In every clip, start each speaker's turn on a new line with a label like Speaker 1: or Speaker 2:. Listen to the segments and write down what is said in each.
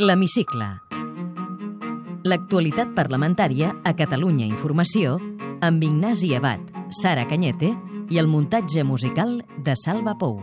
Speaker 1: L'Hemicicle. L'actualitat parlamentària a Catalunya Informació amb Ignasi Abad, Sara Canyete i el muntatge musical de Salva Pou.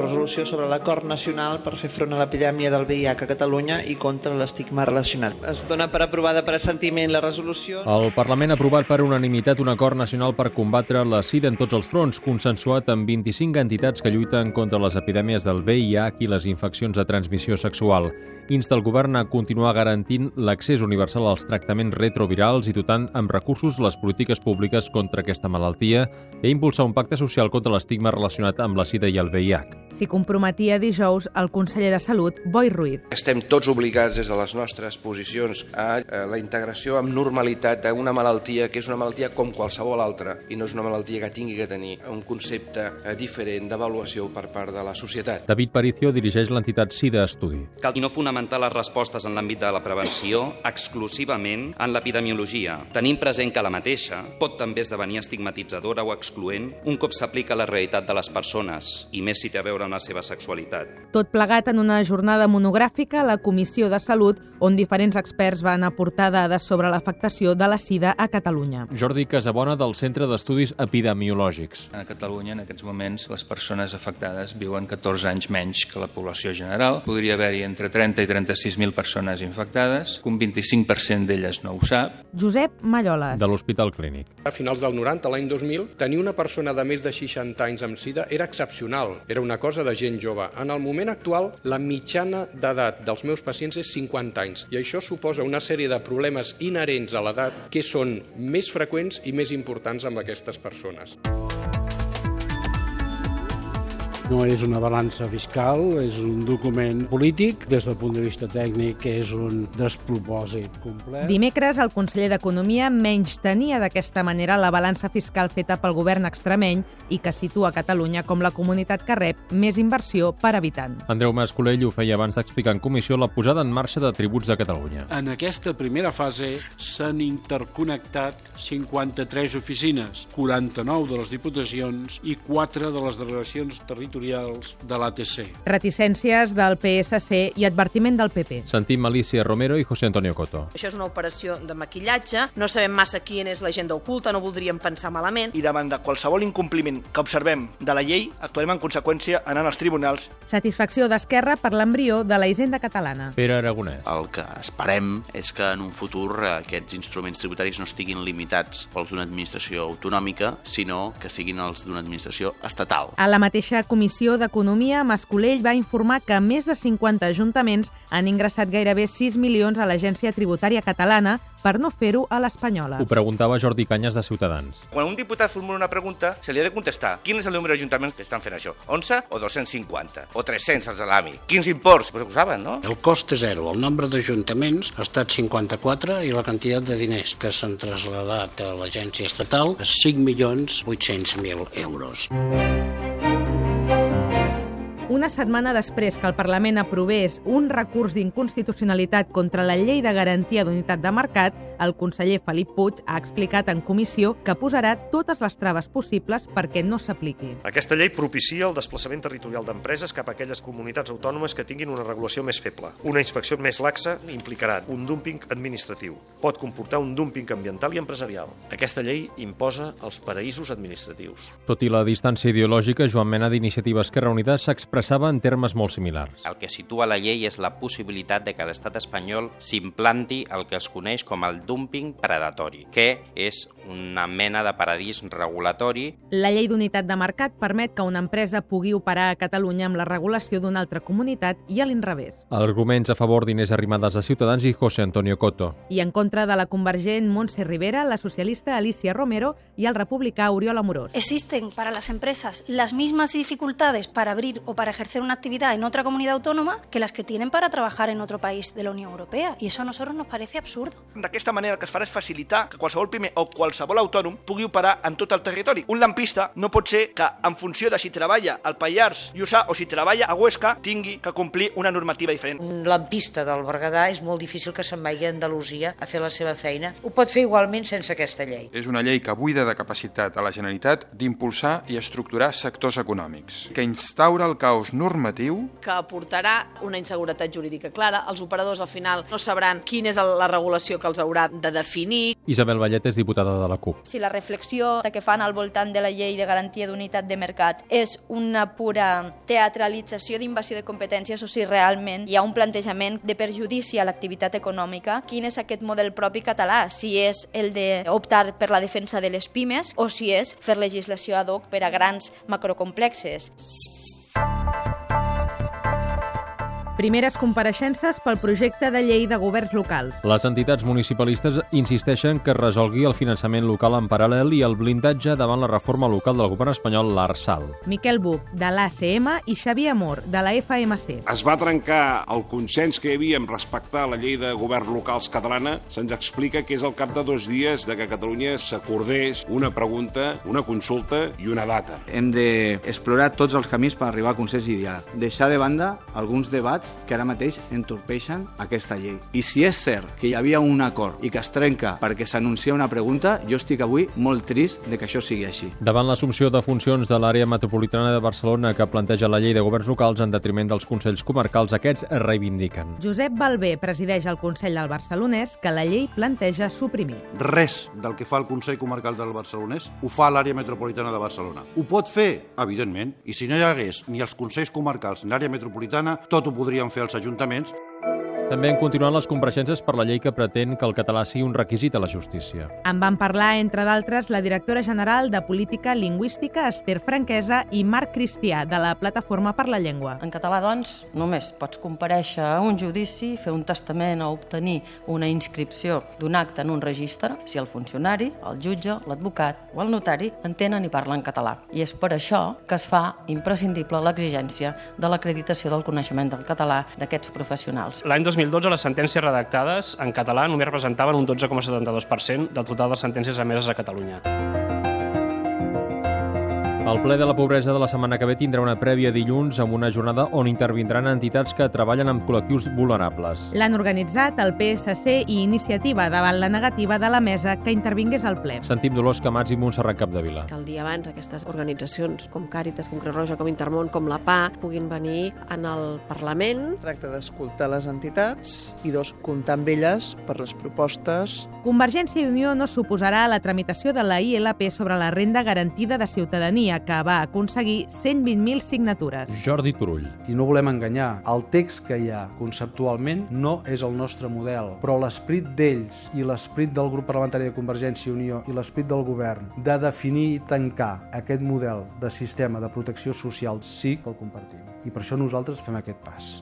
Speaker 2: Resolució sobre l'acord nacional per fer front a l'epidèmia del VIH a Catalunya i contra l'estigma relacionat. Es dona per aprovada per assentiment la resolució.
Speaker 3: Oh.
Speaker 4: El Parlament ha aprovat per unanimitat un acord nacional per combatre la sida en tots els fronts, consensuat amb 25 entitats que lluiten contra les epidèmies del VIH i les infeccions de transmissió sexual. Insta el govern a continuar garantint l'accés universal als tractaments retrovirals i dotant amb recursos les polítiques públiques contra aquesta malaltia i impulsar un pacte social contra l'estigma relacionat amb la sida i el VIH.
Speaker 5: S'hi comprometia dijous el conseller de Salut, Boi Ruiz.
Speaker 6: Estem tots obligats des de les nostres posicions a eh, la integració amb normalitat d'una malaltia que és una malaltia com qualsevol altra i no és una malaltia que tingui que tenir un concepte eh, diferent d'avaluació per part de la societat.
Speaker 4: David Paricio dirigeix l'entitat SIDA Estudi.
Speaker 7: Cal no fonamentar les respostes en l'àmbit de la prevenció exclusivament en l'epidemiologia, tenint present que la mateixa pot també esdevenir estigmatitzadora o excloent un cop s'aplica a la realitat de les persones i més si té a veure veure amb la seva sexualitat.
Speaker 5: Tot plegat en una jornada monogràfica a la Comissió de Salut, on diferents experts van aportar dades sobre l'afectació de la sida a Catalunya.
Speaker 4: Jordi Casabona, del Centre d'Estudis Epidemiològics.
Speaker 8: A Catalunya, en aquests moments, les persones afectades viuen 14 anys menys que la població general. Podria haver-hi entre 30 i 36.000 persones infectades, que un 25% d'elles no ho sap.
Speaker 5: Josep Malloles.
Speaker 4: De l'Hospital Clínic.
Speaker 9: A finals del 90, l'any 2000, tenir una persona de més de 60 anys amb sida era excepcional. Era una cosa de gent jove. En el moment actual, la mitjana d'edat dels meus pacients és 50 anys i això suposa una sèrie de problemes inherents a l'edat que són més freqüents i més importants amb aquestes persones.
Speaker 10: No és una balança fiscal, és un document polític. Des del punt de vista tècnic és un despropòsit complet.
Speaker 5: Dimecres, el conseller d'Economia menys tenia d'aquesta manera la balança fiscal feta pel govern extremeny i que situa Catalunya com la comunitat que rep més inversió per habitant.
Speaker 4: Andreu Mascolell ho feia abans d'explicar en comissió la posada en marxa de tributs de Catalunya.
Speaker 11: En aquesta primera fase s'han interconnectat 53 oficines, 49 de les diputacions i 4 de les delegacions territorials territorials de l'ATC.
Speaker 5: Reticències del PSC i advertiment del PP.
Speaker 4: Sentim Alicia Romero i José Antonio Coto.
Speaker 3: Això és una operació de maquillatge, no sabem massa quina és l'agenda oculta, no voldríem pensar malament.
Speaker 12: I davant de qualsevol incompliment que observem de la llei, actuarem en conseqüència anant als tribunals.
Speaker 5: Satisfacció d'Esquerra per l'embrió de la hisenda catalana.
Speaker 4: Pere Aragonès.
Speaker 7: Ah.
Speaker 13: El que esperem és que en un futur aquests instruments tributaris no estiguin limitats pels d'una administració autonòmica, sinó que siguin els d'una administració estatal.
Speaker 5: A la mateixa comissió Comissió d'Economia, Mascolell va informar que més de 50 ajuntaments han ingressat gairebé 6 milions a l'Agència Tributària Catalana per no fer-ho a l'Espanyola.
Speaker 4: Ho preguntava Jordi Canyes de Ciutadans.
Speaker 14: Quan un diputat formula una pregunta, se li ha de contestar quin és el nombre d'ajuntaments que estan fent això, 11 o 250, o 300 els de l'AMI, quins imports, pues ho saben, no?
Speaker 15: El cost és zero, el nombre d'ajuntaments ha estat 54 i la quantitat de diners que s'han traslladat a l'agència estatal 5.800.000 euros.
Speaker 5: Una setmana després que el Parlament aprovés un recurs d'inconstitucionalitat contra la Llei de Garantia d'Unitat de Mercat, el conseller Felip Puig ha explicat en comissió que posarà totes les traves possibles perquè no s'apliqui.
Speaker 16: Aquesta llei propicia el desplaçament territorial d'empreses cap a aquelles comunitats autònomes que tinguin una regulació més feble. Una inspecció més laxa implicarà un dúmping administratiu. Pot comportar un dúmping ambiental i empresarial. Aquesta llei imposa els paraïsos administratius.
Speaker 4: Tot i la distància ideològica, Joan Mena d'Iniciativa Esquerra Unida s'expressa expressava en termes molt similars.
Speaker 17: El que situa la llei és la possibilitat de que l'estat espanyol s'implanti el que es coneix com el dumping predatori, que és una mena de paradís regulatori.
Speaker 5: La llei d'unitat de mercat permet que una empresa pugui operar a Catalunya amb la regulació d'una altra comunitat i a l'inrevés.
Speaker 4: Arguments a favor d'Inés Arrimadas de Ciutadans i José Antonio Coto.
Speaker 5: I en contra de la convergent Montse Rivera, la socialista Alicia Romero i el republicà Oriol Amorós.
Speaker 18: Existen para las empresas las mismas dificultades para abrir o para ejercer una actividad en otra comunidad autónoma que las que tienen para trabajar en otro país de la Unión Europea. Y eso a nosotros nos parece absurdo.
Speaker 12: D'aquesta manera el que es farà és facilitar que qualsevol primer o qualsevol autònom pugui operar en tot el territori. Un lampista no pot ser que, en funció de si treballa al Pallars Jussà o si treballa a Huesca, tingui que complir una normativa diferent.
Speaker 19: Un lampista del Berguedà és molt difícil que se'n vagi a Andalusia a fer la seva feina. Ho pot fer igualment sense aquesta llei.
Speaker 20: És una llei que buida de capacitat a la Generalitat d'impulsar i estructurar sectors econòmics, que instaura el caos marc normatiu
Speaker 3: que aportarà una inseguretat jurídica clara. Els operadors, al final, no sabran quina és la regulació que els haurà de definir.
Speaker 4: Isabel Vallet és diputada de la CUP.
Speaker 21: Si la reflexió que fan al voltant de la llei de garantia d'unitat de mercat és una pura teatralització d'invasió de competències o si realment hi ha un plantejament de perjudici a l'activitat econòmica, quin és aquest model propi català, si és el d'optar per la defensa de les pimes o si és fer legislació ad hoc per a grans macrocomplexes.
Speaker 5: Primeres compareixences pel projecte de llei de governs locals.
Speaker 4: Les entitats municipalistes insisteixen que es resolgui el finançament local en paral·lel i el blindatge davant la reforma local del govern espanyol, l'Arsal.
Speaker 5: Miquel Buc, de l'ACM, i Xavier Amor, de la FMC.
Speaker 22: Es va trencar el consens que hi havia en respectar la llei de governs locals catalana. Se'ns explica que és al cap de dos dies de que Catalunya s'acordés una pregunta, una consulta i una data.
Speaker 6: Hem d'explorar tots els camins per arribar al consens ideal. Deixar de banda alguns debats que ara mateix entorpeixen aquesta llei. I si és cert que hi havia un acord i que es trenca perquè s'anuncia una pregunta, jo estic avui molt trist de que això sigui així.
Speaker 4: Davant l'assumpció de funcions de l'àrea metropolitana de Barcelona que planteja la llei de governs locals en detriment dels consells comarcals, aquests es reivindiquen.
Speaker 5: Josep Balbé presideix el Consell del Barcelonès que la llei planteja suprimir.
Speaker 23: Res del que fa el Consell Comarcal del Barcelonès ho fa l'àrea metropolitana de Barcelona. Ho pot fer, evidentment, i si no hi hagués ni els Consells Comarcals ni l'àrea metropolitana, tot ho podrien fer els ajuntaments.
Speaker 4: També han continuat les compareixences per la llei que pretén que el català sigui un requisit a la justícia.
Speaker 5: En van parlar, entre d'altres, la directora general de Política Lingüística, Esther Franquesa, i Marc Cristià, de la Plataforma per la Llengua.
Speaker 2: En català, doncs, només pots compareixer a un judici, fer un testament o obtenir una inscripció d'un acte en un registre si el funcionari, el jutge, l'advocat o el notari entenen i parlen català. I és per això que es fa imprescindible l'exigència de l'acreditació del coneixement del català d'aquests professionals.
Speaker 24: L'any 2012 les sentències redactades en català només representaven un 12,72% del total de sentències emeses a Catalunya.
Speaker 4: El ple de la pobresa de la setmana que ve tindrà una prèvia dilluns amb una jornada on intervindran entitats que treballen amb col·lectius vulnerables.
Speaker 5: L'han organitzat el PSC i Iniciativa davant la negativa de la mesa que intervingués al ple.
Speaker 4: Sentim Dolors Camats i Montserrat Capdevila.
Speaker 25: que el dia abans aquestes organitzacions com Càritas, com Creu Roja, com Intermón, com la PA, puguin venir en el Parlament.
Speaker 26: Tracta d'escoltar les entitats i dos, comptar amb elles per les propostes.
Speaker 5: Convergència i Unió no s'oposarà a la tramitació de la ILP sobre la renda garantida de ciutadania, que va aconseguir 120.000 signatures.
Speaker 4: Jordi Turull.
Speaker 27: I no volem enganyar. El text que hi ha conceptualment no és el nostre model, però l'esperit d'ells i l'esperit del grup parlamentari de Convergència i Unió i l'esperit del govern de definir i tancar aquest model de sistema de protecció social sí que el compartim. I per això nosaltres fem aquest pas.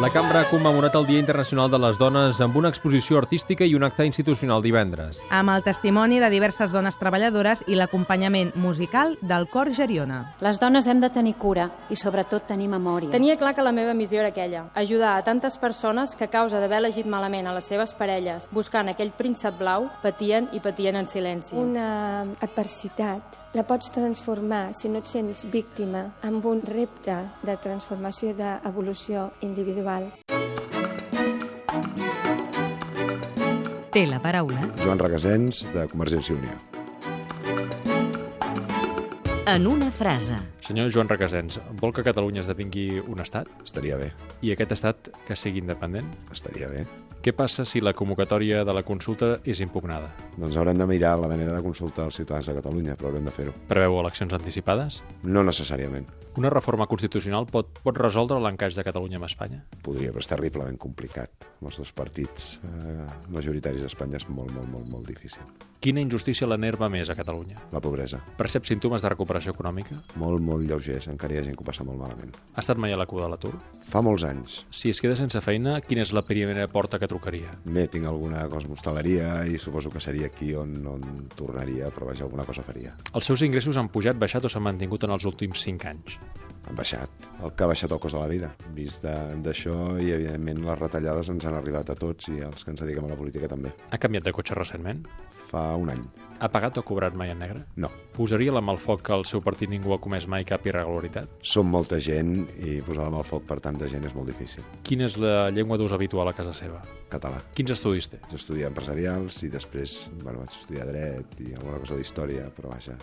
Speaker 4: La Cambra ha commemorat el Dia Internacional de les Dones amb una exposició artística i un acte institucional divendres.
Speaker 5: Amb el testimoni de diverses dones treballadores i l'acompanyament musical del Cor Geriona.
Speaker 28: Les dones hem de tenir cura i sobretot tenir memòria.
Speaker 29: Tenia clar que la meva missió era aquella, ajudar a tantes persones que a causa d'haver elegit malament a les seves parelles, buscant aquell príncep blau, patien i patien en silenci.
Speaker 30: Una adversitat la pots transformar, si no et sents víctima, amb un repte de transformació i d'evolució individual.
Speaker 1: Té la paraula
Speaker 9: Joan Regasens, de Convergència i Unió.
Speaker 1: en una frase.
Speaker 4: Senyor Joan Requesens, vol que Catalunya esdevingui un estat?
Speaker 9: Estaria bé,
Speaker 4: I aquest estat que sigui independent?
Speaker 9: estaria bé.
Speaker 4: Què passa si la convocatòria de la consulta és impugnada?
Speaker 9: Doncs haurem de mirar la manera de consultar els ciutadans de Catalunya, però haurem de fer-ho.
Speaker 4: Preveu eleccions anticipades?
Speaker 9: No necessàriament.
Speaker 4: Una reforma constitucional pot, pot resoldre l'encaix de Catalunya amb Espanya?
Speaker 9: Podria, però és terriblement complicat. Amb els dos partits eh, majoritaris a Espanya és molt, molt, molt, molt difícil.
Speaker 4: Quina injustícia l'enerva més a Catalunya?
Speaker 9: La pobresa.
Speaker 4: Percep símptomes de recuperació econòmica?
Speaker 9: Molt, molt lleugers. Encara hi ha gent que ho passa molt malament.
Speaker 4: Ha estat mai a la cua de l'atur?
Speaker 9: Fa molts anys.
Speaker 4: Si es queda sense feina, quina és la primera porta que trucaria?
Speaker 9: Bé, tinc alguna cosa amb hostaleria i suposo que seria aquí on, on tornaria, però vaja, alguna cosa faria.
Speaker 4: Els seus ingressos han pujat, baixat o s'han mantingut en els últims 5 anys?
Speaker 9: Han baixat. El que ha baixat el cost de la vida. Vist de- d'això, i evidentment les retallades ens han arribat a tots i als que ens dediquem a la política també.
Speaker 4: Ha canviat de cotxe recentment?
Speaker 9: fa un any.
Speaker 4: Ha pagat o cobrat mai en negre?
Speaker 9: No.
Speaker 4: Posaria la mà al foc que el seu partit ningú ha comès mai cap irregularitat?
Speaker 9: Som molta gent i posar la mà al foc per tanta gent és molt difícil.
Speaker 4: Quina és la llengua d'ús habitual a casa seva?
Speaker 9: Català.
Speaker 4: Quins estudis té?
Speaker 9: Vaig estudiar empresarials i després bueno, vaig estudiar dret i alguna cosa d'història, però vaja,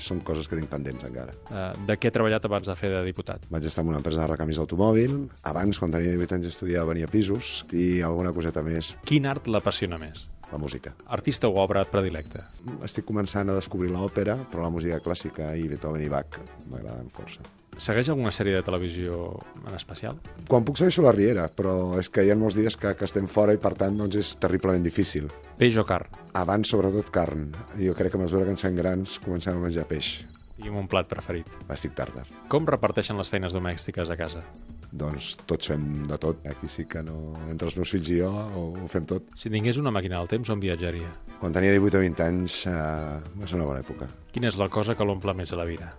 Speaker 9: són coses que tinc pendents encara.
Speaker 4: Eh, de què ha treballat abans de fer de diputat?
Speaker 9: Vaig estar en una empresa de recamis d'automòbil. Abans, quan tenia 18 anys, estudiava venia pisos i alguna coseta més,
Speaker 4: Quin art l'apassiona més?
Speaker 9: la música.
Speaker 4: Artista o obra predilecta?
Speaker 9: Estic començant a descobrir l'òpera, però la música clàssica i Beethoven i Bach m'agraden força.
Speaker 4: Segueix alguna sèrie de televisió en especial?
Speaker 9: Quan puc segueixo la Riera, però és que hi ha molts dies que, que estem fora i per tant doncs és terriblement difícil.
Speaker 4: Peix o carn?
Speaker 9: Abans, sobretot, carn. Jo crec que a mesura que ens fem grans comencem a menjar peix.
Speaker 4: Digui'm un plat preferit.
Speaker 9: Estic tàrtar.
Speaker 4: Com reparteixen les feines domèstiques a casa?
Speaker 9: Doncs tots fem de tot. Aquí sí que no... Entre els meus fills i jo ho, ho fem tot.
Speaker 4: Si tingués una màquina del temps, on viatjaria?
Speaker 9: Quan tenia 18 o 20 anys eh, va ser una bona època.
Speaker 4: Quina és la cosa que l'omple més a la vida?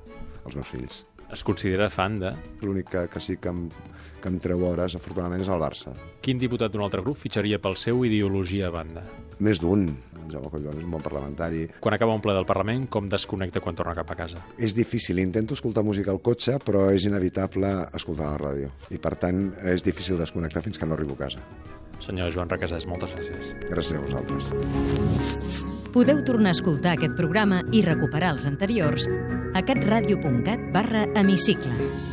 Speaker 9: Els meus fills.
Speaker 4: Es considera fan de...
Speaker 9: L'únic que, que sí que em, que em treu hores, afortunadament, és el Barça.
Speaker 4: Quin diputat d'un altre grup fitxaria pel seu ideologia a banda?
Speaker 9: Més d'un. En Jaume Collboni és un bon parlamentari.
Speaker 4: Quan acaba un ple del Parlament, com desconnecta quan torna cap a casa?
Speaker 9: És difícil. Intento escoltar música al cotxe, però és inevitable escoltar la ràdio. I, per tant, és difícil desconnectar fins que no arribo a casa.
Speaker 4: Senyor Joan Requesés, moltes gràcies.
Speaker 9: Gràcies a vosaltres.
Speaker 1: Podeu tornar a escoltar aquest programa i recuperar els anteriors a catradio.cat barra hemicicle.